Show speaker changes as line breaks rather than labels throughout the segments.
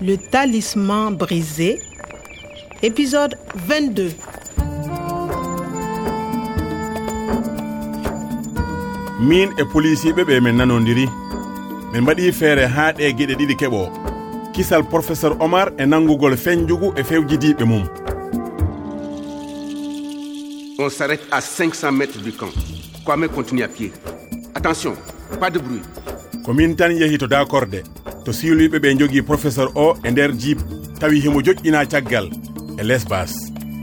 Le talisman brisé, épisode 22.
min e policiɓe ɓe min nanodiri min mbaɗi feere haa ɗe geɗe ɗiɗi keɓo kisal professeur omar e nangugol feñjugu e fewjidiɓe mum
On s'arrête à 500 mètres du camp. Kwame continue à pied. Attention, pas de bruit.
ko min tan yehi to dakorde to siluɓe ɓe jogii professeur o e nder jeep tawi himo joƴƴina caggal e lesbas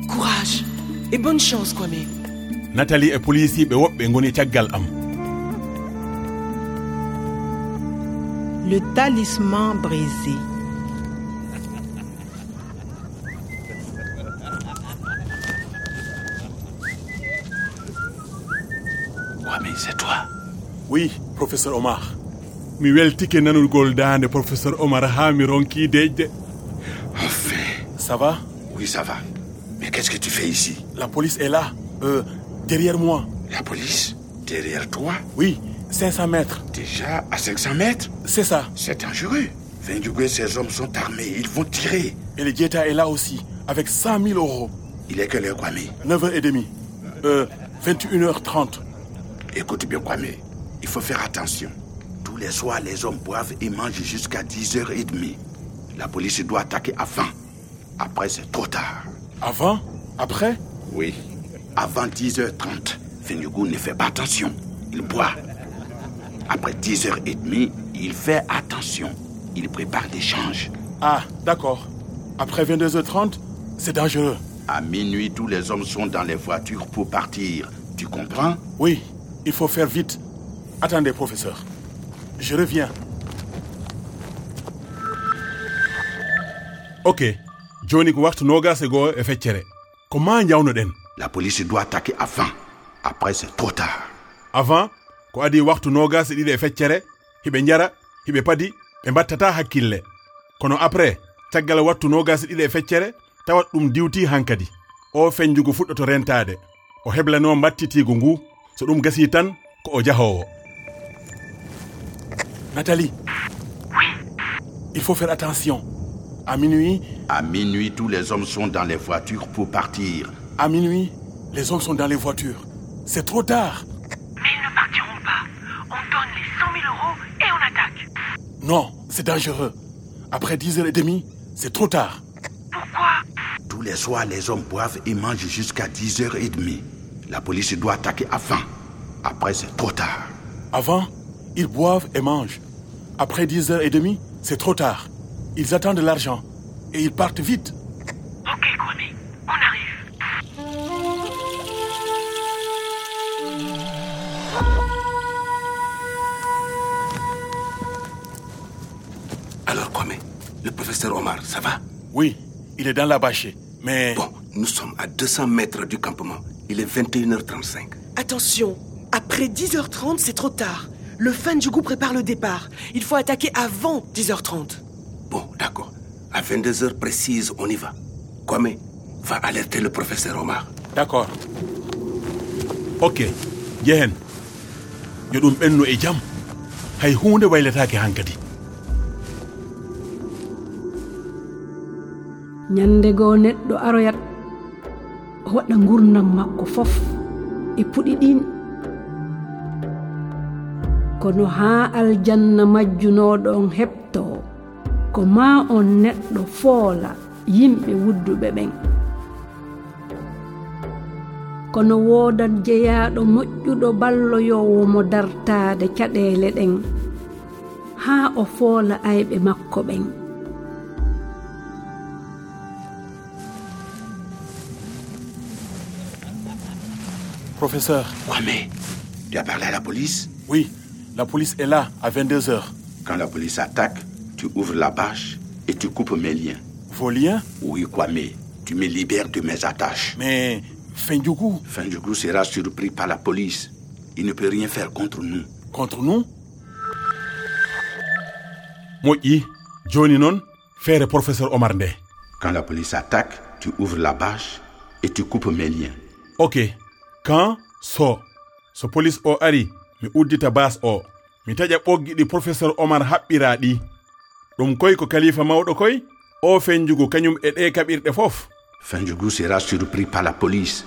Courage et bonne chance, Kwame.
natali e policiɓe woɓɓe goni caggal am
Le talisman brisé.
Kwame, c'est toi.
oui professeur omar mi weltike nanugol dande professeur omar haa mi ronki deƴƴe
Enfin.
ça va
Oui, ça va. Mais qu'est-ce que tu fais ici
la police est là euh, derrière moi
La police Derrière toi
oui 500 mètres
Déjà à 500 mètres
c'est ça
C'est dangereux. Vendugo et ses hommes sont armés. Ils vont tirer.
Et le Dieta est là aussi, avec 100 000 euros.
Il est que l'heure, Kwame.
9h30. Euh, 21h30.
Écoute bien, Kwame. Il faut faire attention. Tous les soirs, les hommes boivent et mangent jusqu'à 10h30. La police doit attaquer avant. Après, c'est trop tard.
Avant Après
Oui. Avant 10h30, Fenugu ne fait pas attention. Il boit. Après 10h30, il fait attention. Il prépare des changes.
Ah, d'accord. Après 22h30, c'est dangereux.
À minuit, tous les hommes sont dans les voitures pour partir. Tu comprends
Oui, il faut faire vite. Attendez, professeur. Je reviens. Ok. joni ko waktu nogas e goo e feccere ko ma jawnoɗen
La police doit attaquer avant. Après, c'est trop tard.
avant ko adi waktu nogas e ɗiɗi e feccere hiɓe jara hiɓe padi ɓe mbattata hakkille kono après caggal wattu nogas e ɗiɗi e feccere tawat ɗum diwti hankadi o feñjugo fuɗɗoto rentade o heblano mbattitigo ngu so ɗum gasi tan ko o jahowo nathalie il faut faire attention à minuit
À minuit, tous les hommes sont dans les voitures pour partir.
à minuit les hommes sont dans les voitures c'est trop tard
Mais ils ne partiront pas. On donne les 100 000 euros et on attaque.
non c'est dangereux après 10h30 c'est trop tard
Pourquoi
Tous les soirs, les hommes boivent et mangent jusqu'à 10h30. La police doit attaquer avant. Après, c'est trop tard.
Avant, ils boivent et mangent. Après 10h30, c'est trop tard. Ils attendent l'argent et ils partent vite.
Ok, Kwame, on arrive.
Alors, Kwame, le professeur Omar, ça va
Oui, il est dans la bâchée. Mais
nous sommes à 200 mètres du campement. Il est 21h35.
Attention, après 10h30, c'est trop tard. Le fan du goût prépare le départ. Il faut attaquer avant 10h30.
Bon, d'accord. À 22 heures précises, on y va. Kwame, va alerter le professeur Omar.
d'accord. Ok, jehen. yo ɗum ɓenno e jam hay hunde wayletake hankadi
ñande goo neɗɗo aroyat waɗa gurdam makko fof e puɗi ɗin kono haa aljanna majjunoɗon heɓto ko ma on neɗɗo foola yimɓe wudduɓe ɓen kono woodat jeyaaɗo moƴƴuɗo balloyowo mo dartaade caɗeele ɗen haa o foola ayɓe makko ɓen
Professeur,
Kwame, tu as parlé à la police
oui, la police est là à 22h.
Quand la police attaque, tu ouvres la bâche et tu coupes mes liens.
Vos liens
Oui, Kwame, tu me libères de mes attaches.
Mais Fendjougou,
Fin du coup sera surpris par la police. Il ne peut rien faire contre nous.
contre nous moƴƴi joni noon feere professeur omar nde
Quand la police attaque, tu ouvres la bâche et tu coupes mes liens.
ok quand so so police o ari mi uddita bas o mi taƴa ɓoggi ɗi professeur omar haɓɓira ɗi ɗum koy ko kalifa mawɗo koy o fenjugo kañum e ɗe kaɓirɗe fof
Fenjugu sera surpris par la police.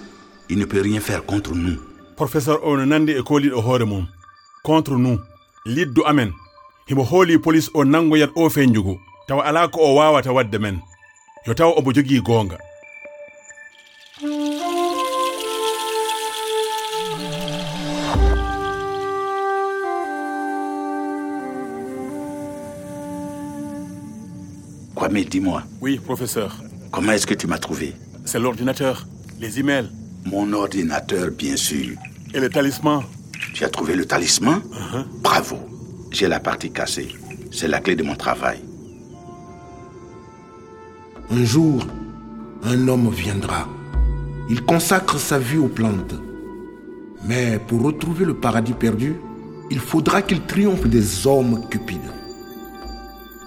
Il ne peut rien faire contre nous.
professeur o no nandi e kooliɗo hoore mum contre nous liddu amen himo hooli police o nangoyat o fenjugo tawa ala ko o wawata wadde men yo taw omo jogii goonga
Kwame, dis-moi,
oui professeur
comment est-ce que tu m'as trouvé
c'est l'ordinateur les emails
Mon ordinateur, bien sûr.
et le talisman
Tu as trouvé le talisman Bravo. J'ai la partie cassée. C'est la clé de mon travail.
Un jour, un homme viendra. Il consacre sa vie aux plantes. Mais pour retrouver le paradis perdu, il faudra qu'il triomphe des hommes cupides.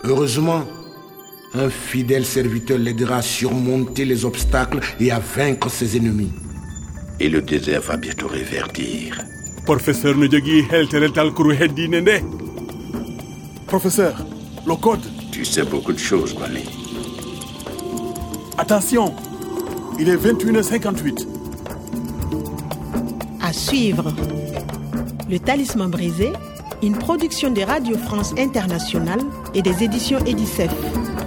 Heureusement, un fidèle serviteur l'aidera à surmonter les obstacles et à vaincre ses ennemis.
Et le désert va bientôt réverdir.
professeur no jogii heltere talkuru heddiinde nde professeur le code
Tu sais beaucoup de choses, Kwame.
attention il est 21h58
À suivre. Le Talisman brisé, une production de Radio France Internationale et des éditions Edicef.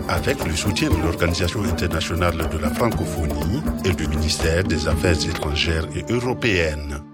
avec le soutien de l'Organisation internationale de la francophonie et du ministère des Affaires étrangères et européennes.